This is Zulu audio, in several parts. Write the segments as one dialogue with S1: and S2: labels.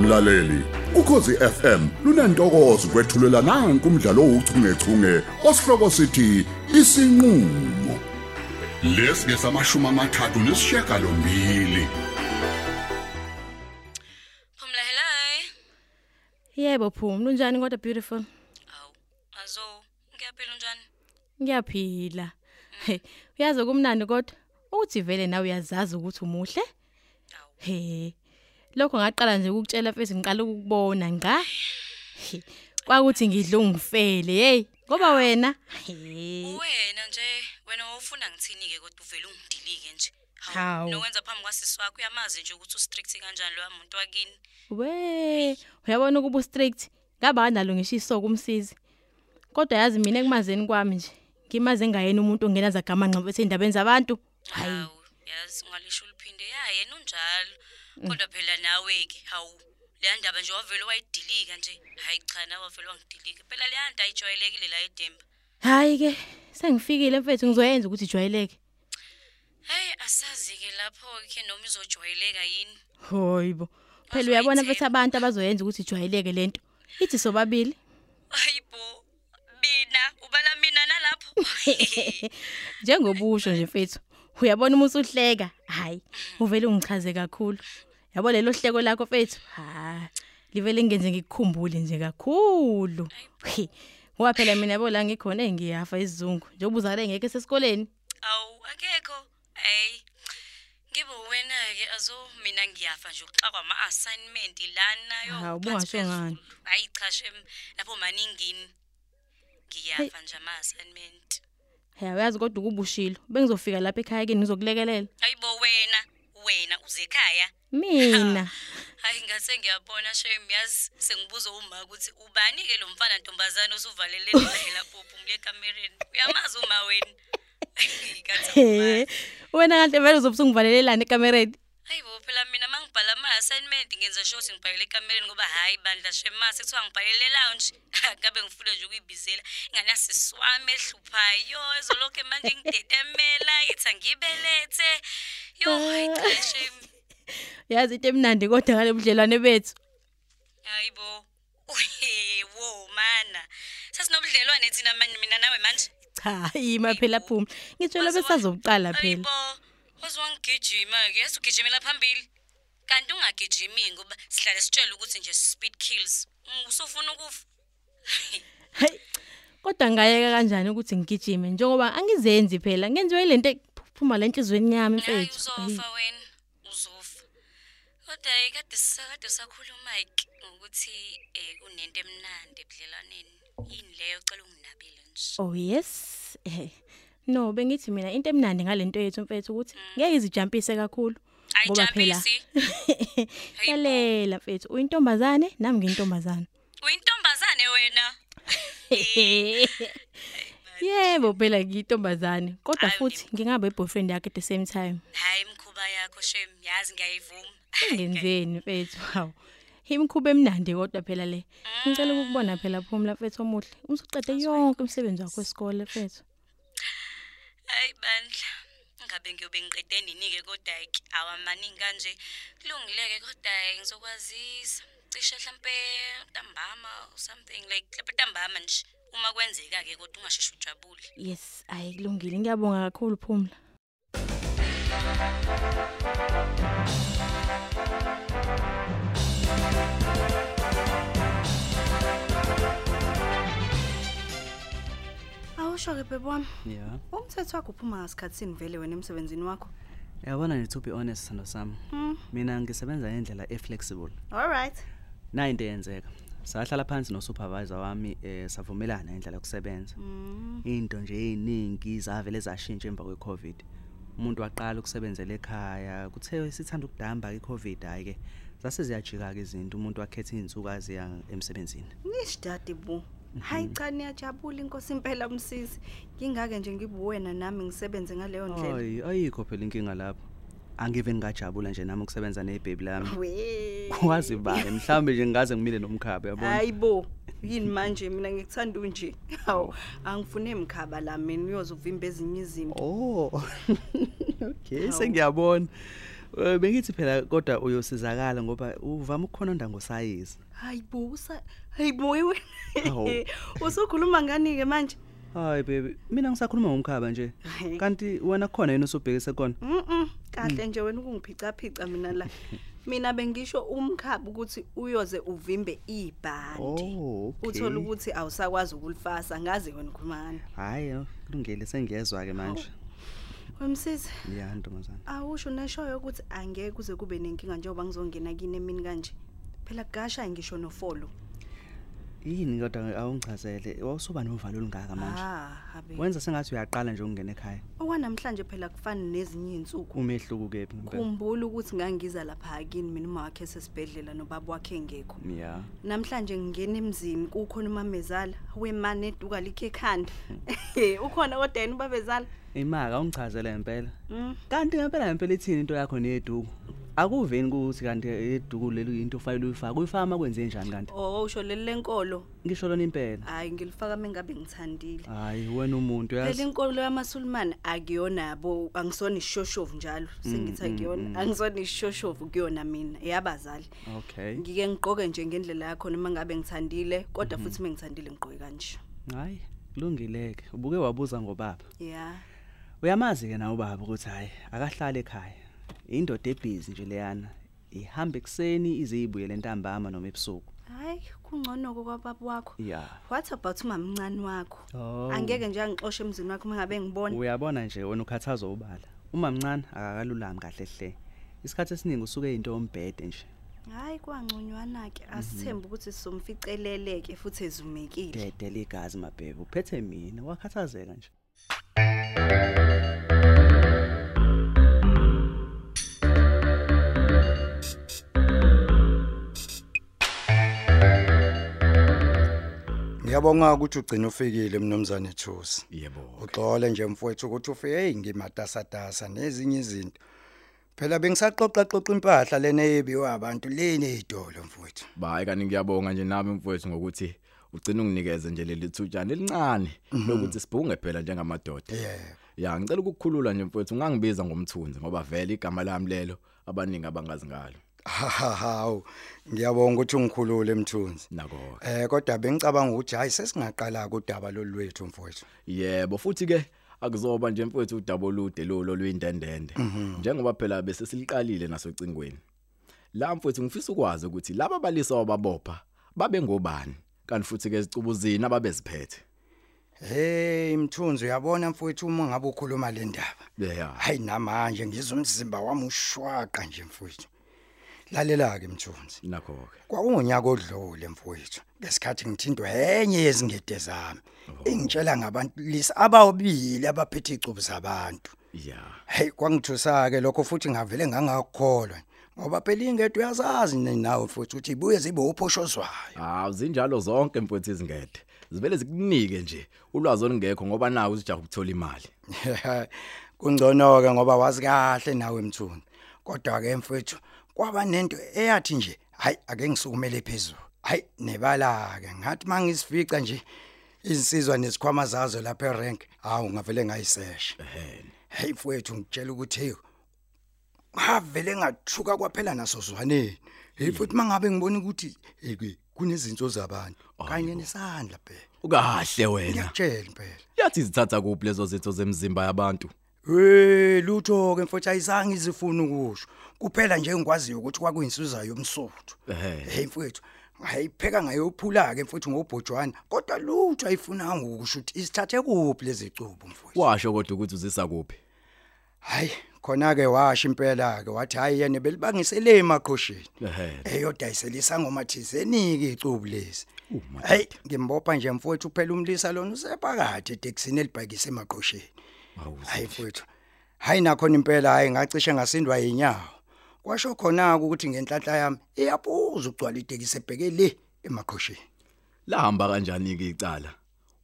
S1: mlaleli ukhosi FM lunantokozo kwethulela nange kumdlalo ouchungechunge osihloko sithi isinqulo lesi ngesamashumi amathathu nesishiyagalo lombili
S2: Phumla hello.
S3: Yebo Phumla, unjani kodwa beautiful?
S2: Aw, azo, ngiyaphila njani?
S3: Ngiyaphila. Hey, uyazi kumnandi kodwa ukuthi vele nawe uyazazi ukuthi umuhle.
S2: Aw,
S3: He. Lokho ngaqala nje ukukutshela mfethu ngiqala ukukubona nga. He, Kwakuthi ngidla ungifele, hey. Ngoba wena, he.
S2: wena nje, wena ufuna ngithini ke kodwa uvela ungidilike nje. Hawu,
S3: Hawu.
S2: Nokwenza phambi kwasisi wakho uyamazi nje ukuthi ustrict kanjani lo muntu wakini.
S3: We, uyabona ukuba strict. Ngaba nalo ngishiso kumsizi. Kodwa yazi mina ekumazeni kwami nje, ngimaze ngayena umuntu ongena zagama ngqobo ezindabeni zabantu. Hayi.
S2: Hawu, yazi ungalisho uliphinde ya yena unjalo.
S3: Mm.
S2: Kodwa phela nawe ke, hawu. Le ndaba nje wavela wayidilika nje. Hayi cha, nawe wavela wangidilika. Phela le nto ayijwayelekile la eDembe.
S3: Hayi ke sengifikile mfethu ngizoyenza ukuthi ujwayeleke.
S2: Hey, asazi ke lapho ke noma izojwayeleka yini.
S3: Hoyibo. Phela
S2: Bazoyithemba.
S3: uyabona mfethu abantu abazoyenza ukuthi ujwayeleke lento. Ithi sobabili.
S2: Hayibo. Mina, ubala mina nalapho.
S3: Njengobusho nje mfethu. Uyabona umuntu uhleka. Hayi, uvele ungichaze kakhulu. Yabo lelo hleko lakho mfethu. Ha. Livele ngenze ngikukhumbule nje kakhulu. He, Ngoba phela mina yabo la ngikhona eh, ngiyafa isizungu. Njengoba uzale ngeke sesikoleni.
S2: Awu akekho. Hey. Ngibo wena ke azo mina ngiyafa nje ukuxa kwama assignment lana yo.
S3: Hawu,
S2: phansi
S3: bungasho ngani.
S2: phezulu. Hayi cha shem lapho maningini. Ngiyafa nje ama assignment.
S3: Hey, uyazi kodwa ukubushilo. Bengizofika lapha ekhaya kini ngizokulekelela.
S2: Hayibo wena, wena uzekhaya.
S3: Mina.
S2: Hayi ngase ngiyabona shem yazi sengibuza uma ukuthi ubani ke lo mfana ntombazana osuvalelele phela phuphu ngile kamereni. Uyamazi uma wena. Ngathi umazi.
S3: He. Wena kanti vele uzobe ungivalelelana ekamereni.
S2: Hayibo phela mina mangibhala ama assignment ngenza sure ukuthi ngibhalele ekamereni ngoba hayi bandla shema sekuthiwa ngibhalele lounge ngabe ngifuna nje ukuyibizela ingane siswami ehluphayo ezolokhu manje ngidedemela ithi angibelethe yo hayi cha shem
S3: Yazi into emnandi kodwa ngale budlelwane bethu.
S2: hayibo Uhe, wo mana sasinobudlelwane thina manje mina nawe manje
S3: Cha, yima phela
S2: Hayibo.
S3: Phumi. Ngitshela
S2: Waze wa-
S3: besazokuqala phela.
S2: hayibo wazowangigijima ke yase ugijimela phambili kanti ungagijimi ngoba sihlale sitshela ukuthi nje speed kills Mm, usufuna ukufa
S3: Hey. Kodwa ngayeka kanjani ukuthi ngigijime njengoba angizenzi phela. Ngenziwe lento ephuma la enhlizweni yami
S2: hayi
S3: mfethu. Hey.
S2: uzofa wena uzofa kodwa hhayi, kade sisakade usakhuluma ke ngokuthi um kunento emnandi ebudlelwaneni yini leyo cela unginabile nje
S3: Oh yes. Eh. No, bengithi mina into emnandi ngalento yethu mfethu ukuthi
S2: Mm.
S3: ngeke izijampise kakhulu. Ngoba phela.
S2: ayijampisi
S3: Yalela mfethu, uyintombazane nami ngiyintombazane.
S2: uyintombazane wena
S3: Yebo phela ngiyintombazane kodwa
S2: Ayi,
S3: futhi ngingabe boyfriend yakhe at the same time.
S2: hayi mkhuba yakho shem yazi ngiyayivuma
S3: Ngenzeni mfethu hawo. Imkhuba emnandi kodwa phela le. Ngicela ukukubona phela Phumla mfethu omuhle. Umsuqede yonke umsebenzi wakho wesikole mfethu.
S2: hayi bandla ngabe ngiyobe ngiqede nini-ke kodwa-ke awamaningi kanje kulungileke kodwa-ke ngizokwazisa cishe hlampe ntambama or something like hlampe ntambama nje uma kwenzeka-ke kodwa ungasheshe ujabule
S3: Yes, ayi kulungile. Ngiyabonga kakhulu Phumla.
S4: awusho-ke bebami
S5: ya
S4: umthetho wakho uphuma ngasikhathisini vele wena emsebenzini wakho
S5: yabona nje to be honest sithando sami
S4: Mm.
S5: mina ngisebenza ngendlela e-flexible
S4: all right
S5: nayo into eyenzeka sahlala phansi nosupervisor wami um savumelana ngendlela yokusebenza
S4: Mm.
S5: into nje ey'ningi zavele zashintsha emva kwe-covid umuntu waqala ukusebenzela ekhaya kuthe sithanda ukudamba-ke i-covid hhayi-ke zaseziyajika-ke izinto umuntu wakhetha iy'nsuku aziya emsebenzini
S4: nishidade bu
S5: Mhm.
S4: hayi cha niyajabula inkosi impela msisi ngingake nje ngibuwena nami ngisebenze ngaleyo ndlela
S5: Ayi- ayikho phela inkinga lapho angive ngingajabula nje nami ukusebenza nebhebi lami
S4: We.
S5: wazi bani mhlawumbe nje ngingaze ngimile nomkhaba yabona
S4: hayi bo yini manje mina ngikuthanda unje hawu angifune mkhaba la mina uyoze uvimba ezinye izimpi
S5: Oh. Okay, sengiyabona. Eh, bengithi phela kodwa uyosizakala ngoba uvama ukukhononda ngosayizi
S4: hayi bo usa- hayi bo wena
S5: Hawu.
S4: usukhuluma ngani-ke manje
S5: hayi baby mina ngisakhuluma ngomkhaba nje
S4: Hhayi.
S5: kanti wena khona yini osubhekise khona
S4: Mm-mm, kahle nje wena ukungiphicaphica mina la mina bengisho umkhabi ukuthi uyoze uvimbe ibhande
S5: oh
S4: uthole ukuthi awusakwazi ukulifasa ngazi wena ukhuluma ngani
S5: hayi kulungile sengiyezwa-ke manje
S4: wemsisi
S5: ya ntombazane
S4: awusho neshoyo ukuthi angeke kuze kube nenkinga njengoba ngizongena kini emini kanje phela kugashayi ngisho nofolo
S5: yini kodwa awungichazele wawusuba novalo olungaka manje
S4: ah habe
S5: wenza sengathi uyaqala nje ukungena ekhaya
S4: okwanamhlanje phela kufani nezinye
S5: Mm,
S4: iy'nsuku
S5: umehluko kephi ngempela?
S4: kumbula ukuthi ngangiza lapha kini mina uma wakhe sesibhedlela nobaba wakhe engekho
S5: ya
S4: namhlanje ngingena emzini kukhona umamezala wemane eduka likho ekhanda ukhona kodwa yena ubabezala
S5: imaka ungichazele ngempela
S4: Mm.
S5: kanti ngempela ngempela ithini into yakho neyeduku akuveni ukuthi kanti eduku leli into ofanele uyifaka uyifaka uma kwenze njani kanti
S4: o Oh, usho leli lenkolo
S5: ngisho lona impela
S4: hhayi ngilifaka uma ngabe ngithandile
S5: hhayi wena umuntu
S4: phela
S5: yazi
S4: inkolo yamasulumane akuyonabo angisona isishoshovu njalo sengithi akuyona angisona isishoshovu kuyona mina eyabazali
S5: okay
S4: ngike ngiqoke nje ngendlela yakhona uma ngabe ngithandile kodwa futhi uma ngithandile ngiqoke kanje
S5: hhayi kulungileke ubuke wabuza ngobaba
S4: ya
S5: uyamazi-ke nawe ubaba ukuthi hhayi akahlali ekhaya indoda ebhizi nje leyana ihambe ekuseni ize ibuyele entambama noma ebusuku
S4: hhayi kungcono-ko kwababa wakho
S5: ya
S4: what about umamncane wakho
S5: Oh.
S4: angeke nje angixoshe emzini wakho uma ngabe ngibona
S5: uyabona nje wena ukhathazwa ubala uma mncane akakalulami kahle hle isikhathi esiningi usuke into yombhede nje
S4: hhayi kwangconywana-ke asithembe ukuthi sizomficeleleke futhi ezumekile
S5: dede ligazi mabhebe uphethe mina wakhathazeka nje
S6: Ngiyabonga ukuthi ugcina ufikile mnumzane Thusi.
S7: Yebo.
S6: Uxole nje mfowethu ukuthi ufe hey ngimatasatasa nezinye izinto. Phela bengisaxoxa xoxa impahla lena eyebiwa abantu leni idolo mfowethu.
S7: Bayi kanti ngiyabonga nje nami mfowethu ngokuthi ugcina unginikeze nje leli thutshana elincane lokuthi sibhunge phela njengamadoda.
S6: Yebo.
S7: Ya, ngicela ukukukhulula nje mfowethu ungangibiza ngomthunzi ngoba vele igama lami lelo abaningi abangazi ngalo.
S6: Hawu. Ngiyabonga ukuthi ungikhulule mthunzi.
S7: Nako.
S6: Eh kodwa bengicabanga ukuthi hayi sesingaqala kudaba lolwethu mfowethu.
S7: Yebo futhi ke akuzoba nje mfowethu udabo lude lolo lwintendende. Njengoba phela bese siliqalile nasocingweni. La mfowethu ngifisa ukwazi ukuthi laba balisa wababopha babe ngobani kanti futhi ke sicubuzini ababeziphethe.
S6: Hey mthunzi uyabona mfowethu uma ngabe ukhuluma le ndaba.
S7: Yeah.
S6: Hayi namanje ngizwa umzimba wami ushwaqa nje mfowethu. Lalela ke mthunzi.
S7: Nakho ke.
S6: Kwakunyaka odlule mfowethu ngesikhathi ngithintwa enye yezingede zami ingitshela ngabantu lisa abawubili abaphethe icubu zabantu
S7: Yeah.
S6: hey kwangithusa ke lokho futhi ngavele ngangakukholwa ngoba phela ingede uyazazi nini nawe futhi ukuthi ibuye zibe uphoshozwayo
S7: Ah, zinjalo zonke mfowethu izingede. Zivele zikunike nje ulwazi olungekho ngoba nawe usijaha ukuthola imali.
S6: kungcono ke ngoba wazi kahle nawe mthuni kodwa ke mfowethu kwaba nento eyathi nje hayi ake ngisukumele phezulu hayi nebala ke ngathi mangisifica nje insizwa nesikhwama zazo lapha erank hawu ngavele ngayisesha
S7: Eh.
S6: hey mfowethu ngitshela ukuthi hey ngavele ngathuka kwaphela naso zwaneni hey futhi mangabe ngibona ukuthi hey, kwi- kunezinto zabantu kanye nesandla phela
S7: Ukahle wena.
S6: ngiyakutshela phela
S7: Yathi zithatha kuphi lezo zitho zemzimba yabantu?
S6: Hey lutho ke mfowethu ayizange izifuna ukusho. Kuphela nje ngikwaziyo ukuthi kwakuyinsizwa yomsuthu.
S7: Ehhe.
S6: Hey mfowethu, ngayipheka ngayophula ke mfowethu ngobhojwana, kodwa lutho ayifuna ukusho ukuthi isithathe kuphi lezi cubo mfowethu.
S7: Washo kodwa ukuthi uzisa kuphi?
S6: Hayi, khona ke washo impela ke wathi hayi yena belibangisele emaqhosheni.
S7: Ehhe.
S6: eyodayiselisa ngomathizeni ke icubu lesi hey ngimbopha nje mfowethu phela umlisa lona usephakathi etekisini elibhakise emaqhosheni
S7: Hawu,
S6: hayi mfowethu hayi nakho impela hayi ngacishe ngasindwa yinyawo kwasho khona ukuthi ngenhlanhla yami iyaphuza ukugcwala itekisi ebheke le emaqhosheni
S7: Lahamba kanjani ke icala?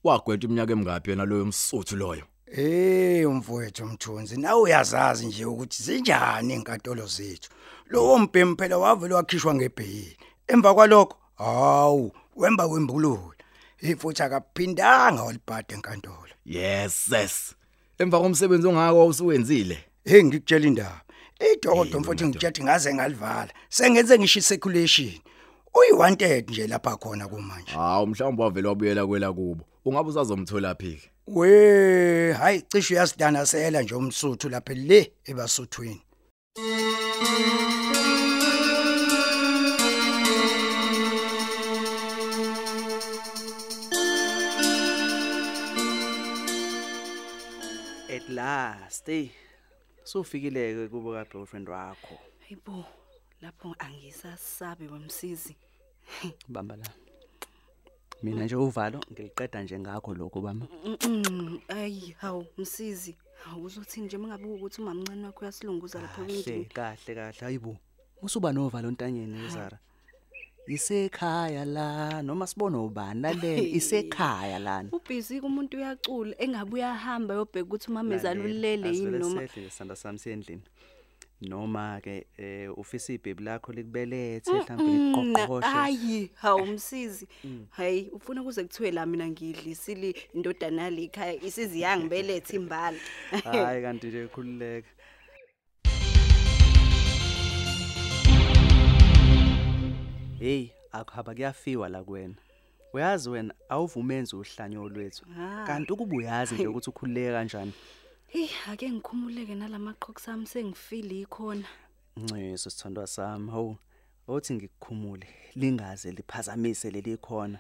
S7: Wagwetha iminyaka emingaphi yena loyo msuthu loyo?
S6: Eh umfowethu umthunzi nawe uyazazi nje ukuthi sinjani inkantolo zethu. Lowo mbhemu phela wavele wakhishwa ngebheyili. Emva kwalokho, hawu, wemba wembulula. Ifuthi akaphindanga walibhada enkantolo.
S7: Yes, yes. Emva komsebenzi ongako owusuyenzile.
S6: Hey Eh, ngikutshela indaba. idokodo mfowethu ngitshethi ngaze ngalivala sengenze ngisho circulation uyiwanted nje lapha khona kumanje
S7: hawu mhlawumbe wavele wabuyela kwela kubo ungabe usazomthola phi ke
S6: we hayi cishe uyasidanasela nje umsuthu lapha le ebasuthwini
S5: at last hey sofikileke kubo ka girlfriend wakho
S4: hayibo lapho angisasabi wemsizi
S5: bamba la mina nje uvalo ngiliqeda nje ngakho lokho bami
S4: ayi hawu msizi hawu uzothini nje mangabe ukuthi umamncane wakho uyasilunguza lapho
S5: kahle
S4: kwindlu
S5: kahle kahle hayibo musuba novalo ntanyeni ezara isekhaya la noma sibona ubani lalele isekhaya lana
S4: ubhizi kumuntu uyacula engabuya ahamba yobheka ukuthi umamezalulele yini
S5: Asivele
S4: noma
S5: sehle ngesandla sami sendlini noma ke eh ufisa ibhebi lakho likubelethe mhlawumbe
S4: Mm,
S5: liqoqoshe
S4: hayi hawu msizi
S5: Mm.
S4: hayi ufuna kuze kuthiwe la mina ngidlisile indodana likhaya isizi yangibeletha imbala
S5: hayi kanti nje khululeka hey akuhaba kuyafiwa la kuwena uyazi wena awuvumenzi uhlanyo lwethu
S4: Ah.
S5: kanti ukuba uyazi nje ukuthi ukhululeka kanjani
S4: heyi ake ngikhumuleke nalamaqhoqo sami sengifile ikhona
S5: Nceso sithandwa sami ho othi ngikukhumule lingaze liphazamise leli khona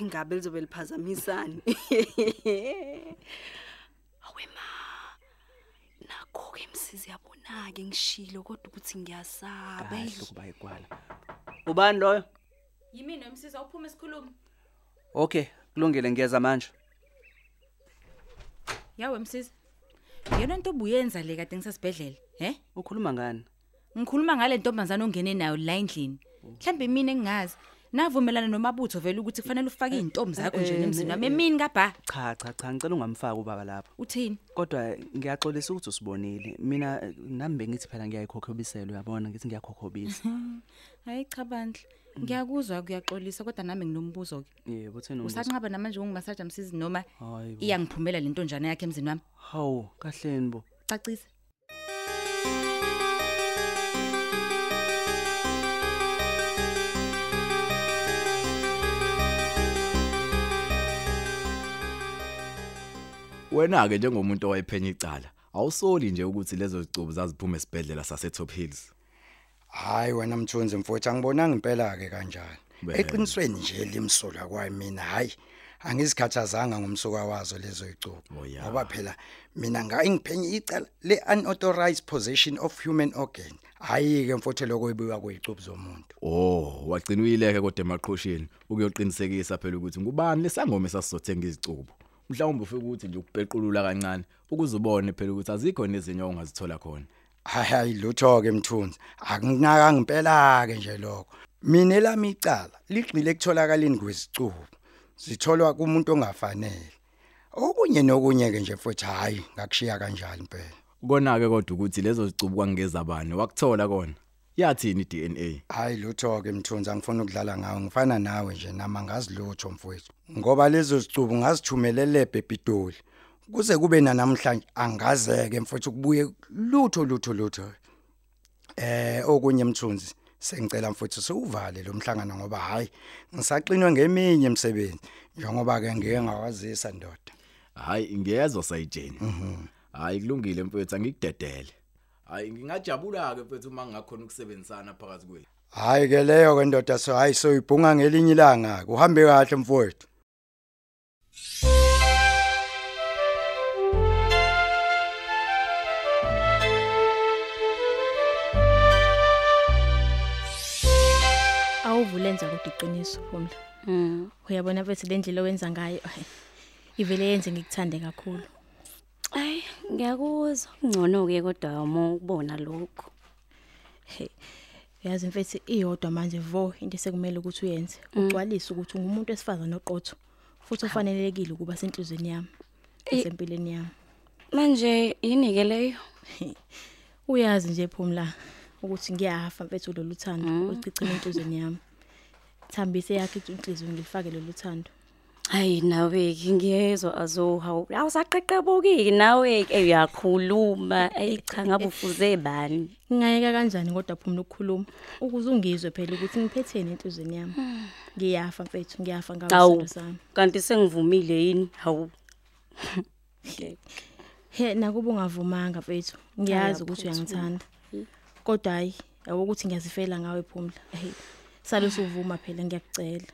S4: ingabe lizobe liphazamisani awe ma nakho-ke msizi yabona-ke ngishilo kodwa ukuthi ngiyasaba
S5: kahle
S4: eyi.
S5: ukuba igwala ubani loyo
S8: yimina umsiza uphuma isikhulumi
S5: okay kulungile ngiyeza manje
S8: yawe msiza yena nto obuyenza le kade ngisasibhedlela he
S5: ukhuluma ngani
S8: ngikhuluma ngale ntombazana ongene nayo la endlini mhlawumbe mina engingazi navumelana nomabutho vele ukuthi kufanele ufake iy'ntombi zakho nje nemzini wami emini kabha
S5: cha cha cha ngicela ungamfaki ubaba lapho
S8: uthini
S5: kodwa ngiyaxolisa ukuthi usibonile mina eh, nami bengithi phela ngiyayikhokhobisela uyabona ngithi ngiyakhokhobisa
S8: hayi cha bandla ngiyakuzwa kuyaxolisa kodwa nami nginombuzo-ke
S5: yebo uthena
S8: usanqaba namanje ungimasaja msizi noma
S5: Hayi bo.
S8: iyangiphumela le ntonjana yakhe emzini wami
S5: hawu kahleni bo
S8: cacisa
S7: wena-ke njengomuntu owayephenya icala awusoli nje ukuthi lezo zicubu zaziphuma esibhedlela sasetop hills
S6: hayi wena mthunzi mfowethu angibonanga impela ke kanjani
S7: Be-
S6: eqinisweni nje limsulwa kwaye mina hayi angizikhathazanga ngomsuka wazo lezo icubo
S7: Oh, ya.
S6: ngoba phela mina ngaye ngiphenye icala le unauthorized possession of human organ hayi ke mfowethu lokuyibuya kwezicubo zomuntu
S7: oh wagcina uyileke kodwa emaqhosheni ukuyoqinisekisa phela ukuthi ngubani lesangoma esasizothenga izicubu mhlawumbe ufike ukuthi nje ukupequlula kancane ukuze ubone phela ukuthi azikho nezinye ongazithola khona
S6: hayi lutho ke mthunzi akunaka ngempela ke nje lokho mina elami icala ligxile ekutholakaleni kwezicubo sitholwa kumuntu ongafanele okunye nokunye ke nje futhi hayi ngakushiya kanjani impela
S7: kona-ke kodwa ukuthi lezo zicubu kwangezabani wakuthola kona yathini i-dna
S6: hayi lutho ke mthunzi angifuni ukudlala ngawe ngifana nawe nje nama ngazilutho mfowethu ngoba lezo zicubu ngazithumelele bebidoli kuze kube nanamhlanje angazeke mfowethu kubuye lutho lutho lutho eh okunye mthunzi sengicela mfowethu siuvale lo mhlangano ngoba hayi ngisaqinwe ngeminye imisebenzi njengoba ke ngeke ngawazisa ndoda
S7: hayi ngiyezwa sayijeni hayi kulungile mfethu angikudedele hayi ngingajabula-ke mfethu uma ngingakhona ukusebenzisana phakathi kwethu
S6: hayi ke leyo ke ndoda so hayi so ibhunga ngelinye ilanga uhambe kahle mfowethu
S3: awuvulenza kodwa iqiniso phumla uyabona mfethu le ndlela owenza ngayo ayi, ivele yenze ngikuthande kakhulu
S9: Ay, ngiyakuzwa. Kungcono ke kodwa uma ubona lokho.
S3: Hey. Yazi mfethu iyodwa manje vo into esekumele ukuthi uyenze ugcwalise ukuthi ungumuntu esifazana oqotho futhi ufanelekile ukuba senhlizweni yami esempilweni yami
S9: Manje yini ke leyo?
S3: uyazi nje phumla ukuthi ngiyafa mfethu lolu thando ulicicile enhlizweni yami thambise yakhe inhliziyo ngilifake lolu thando
S2: hayi nawe ke ngiyezwa azo hawu awusaqeqebukiki nawe ke uyakhuluma ayi cha ngabe ufuze bani
S3: Ngingayeka kanjani kodwa phumla ukukhuluma ukuze ungizwe phela ukuthi ngiphetheni entuzweni yami. Ngiyafa mfethu, ngiyafa ngawe
S2: Awu.
S3: izinto zami.
S2: kanti sengivumile yini hawu
S3: He nakuba ungavumanga mfethu, ngiyazi ukuthi uyangithanda. Kodwa hayi, yabo ukuthi ngiyazifela ngawe phumla. Hey. Salo suvuma phela ngiyakucela.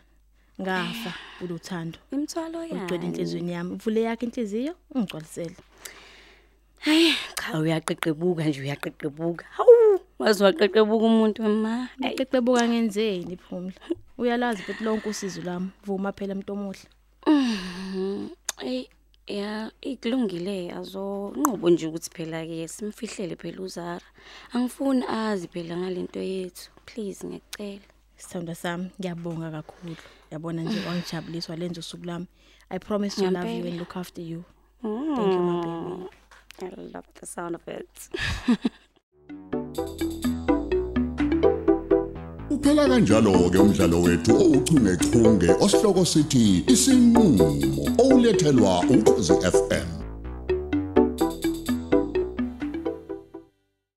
S3: Ngafa ulothando.
S2: imthwalo
S3: Ugcwele inhlizweni yami. Uvule yakhe inhliziyo, ungigcwalisele.
S2: hayi cha uyaqeqebuka nje uyaqeqebuka hawu wazi waqeqebuka umuntu ma Ayi,
S3: Ngiqeqebuka ngenzeni phumla. Uyalazi ukuthi lonke usizo lami. Vuma phela mntu omuhle.
S2: eyi ya ikulungile azo nqobo nje ukuthi phela ke simfihlele phela uzara angifuni azi phela ngalento yethu please ngiyacela
S3: Sithanda sami, ngiyabonga kakhulu. Yabona nje wangijabuliswa lenzo suku lami. I promise to love you and look after you. Thank you my baby.
S2: I love the sound of it.
S1: Uphela kanjalo ke umdlalo wethu owuchungechunge osihloko sithi isinqulo owulethelwa ukhozi FM